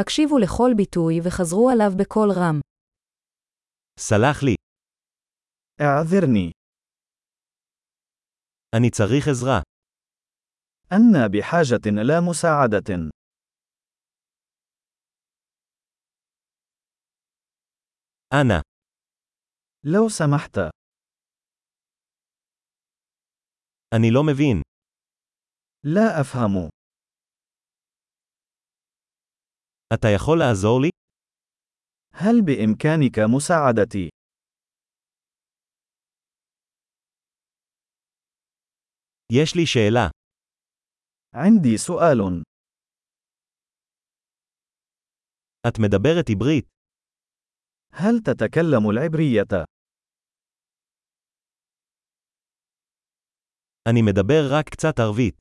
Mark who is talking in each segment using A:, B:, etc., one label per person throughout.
A: הקשיבו לכל ביטוי וחזרו עליו בקול רם.
B: סלח לי,
C: اعذرني
B: אני צריך עזרה.
C: أنا بحاجة إلى مساعدة
B: אנא,
C: لو سمحت
B: אני לא מבין.
C: لا أفهم
B: אתה יכול לעזור לי?
C: هل بإمكانك مساعدتي
B: יש לי שאלה.
C: عندي سؤال
B: את מדברת עברית.
C: هل تتكلم العبرية
B: אני מדבר רק קצת ערבית.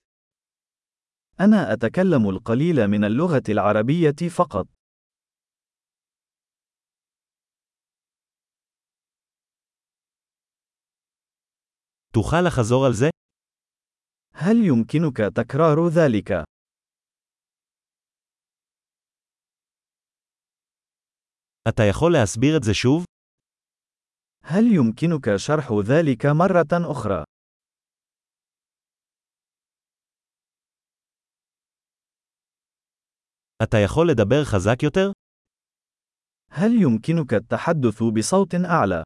C: أنا أتكلم القليل من اللغة العربية فقط
B: תוכל לחזור על זה?
C: هل يمكنك تكرار ذلك
B: אתה יכול להסביר את זה שוב?
C: هل يمكنك شرح ذلك مرة أخرى
B: אתה יכול לדבר חזק יותר?
C: هل يمكنك التحدث بصوت أعلى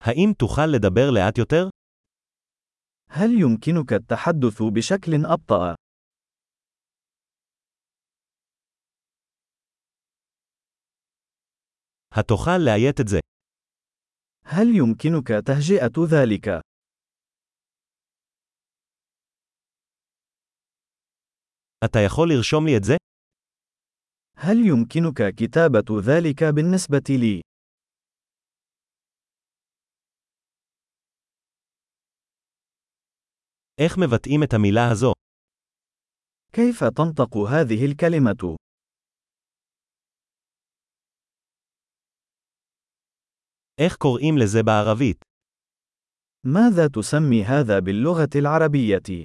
B: האם תוכל לדבר לאט יותר?
C: هل يمكنك التحدث بشكل أبطأ
B: התוכל לאיית את זה.
C: هل يمكنك تهجئة ذلك
B: אתה יכול לרשום לי את זה?
C: هل يمكنك كتابة ذلك بالنسبة لي؟
B: איך מבטאים את המילה הזו?
C: كيف تنطق هذه الكلمة؟
B: איך קוראים לזה בערבית?
C: ماذا تسمي هذا باللغة العربية؟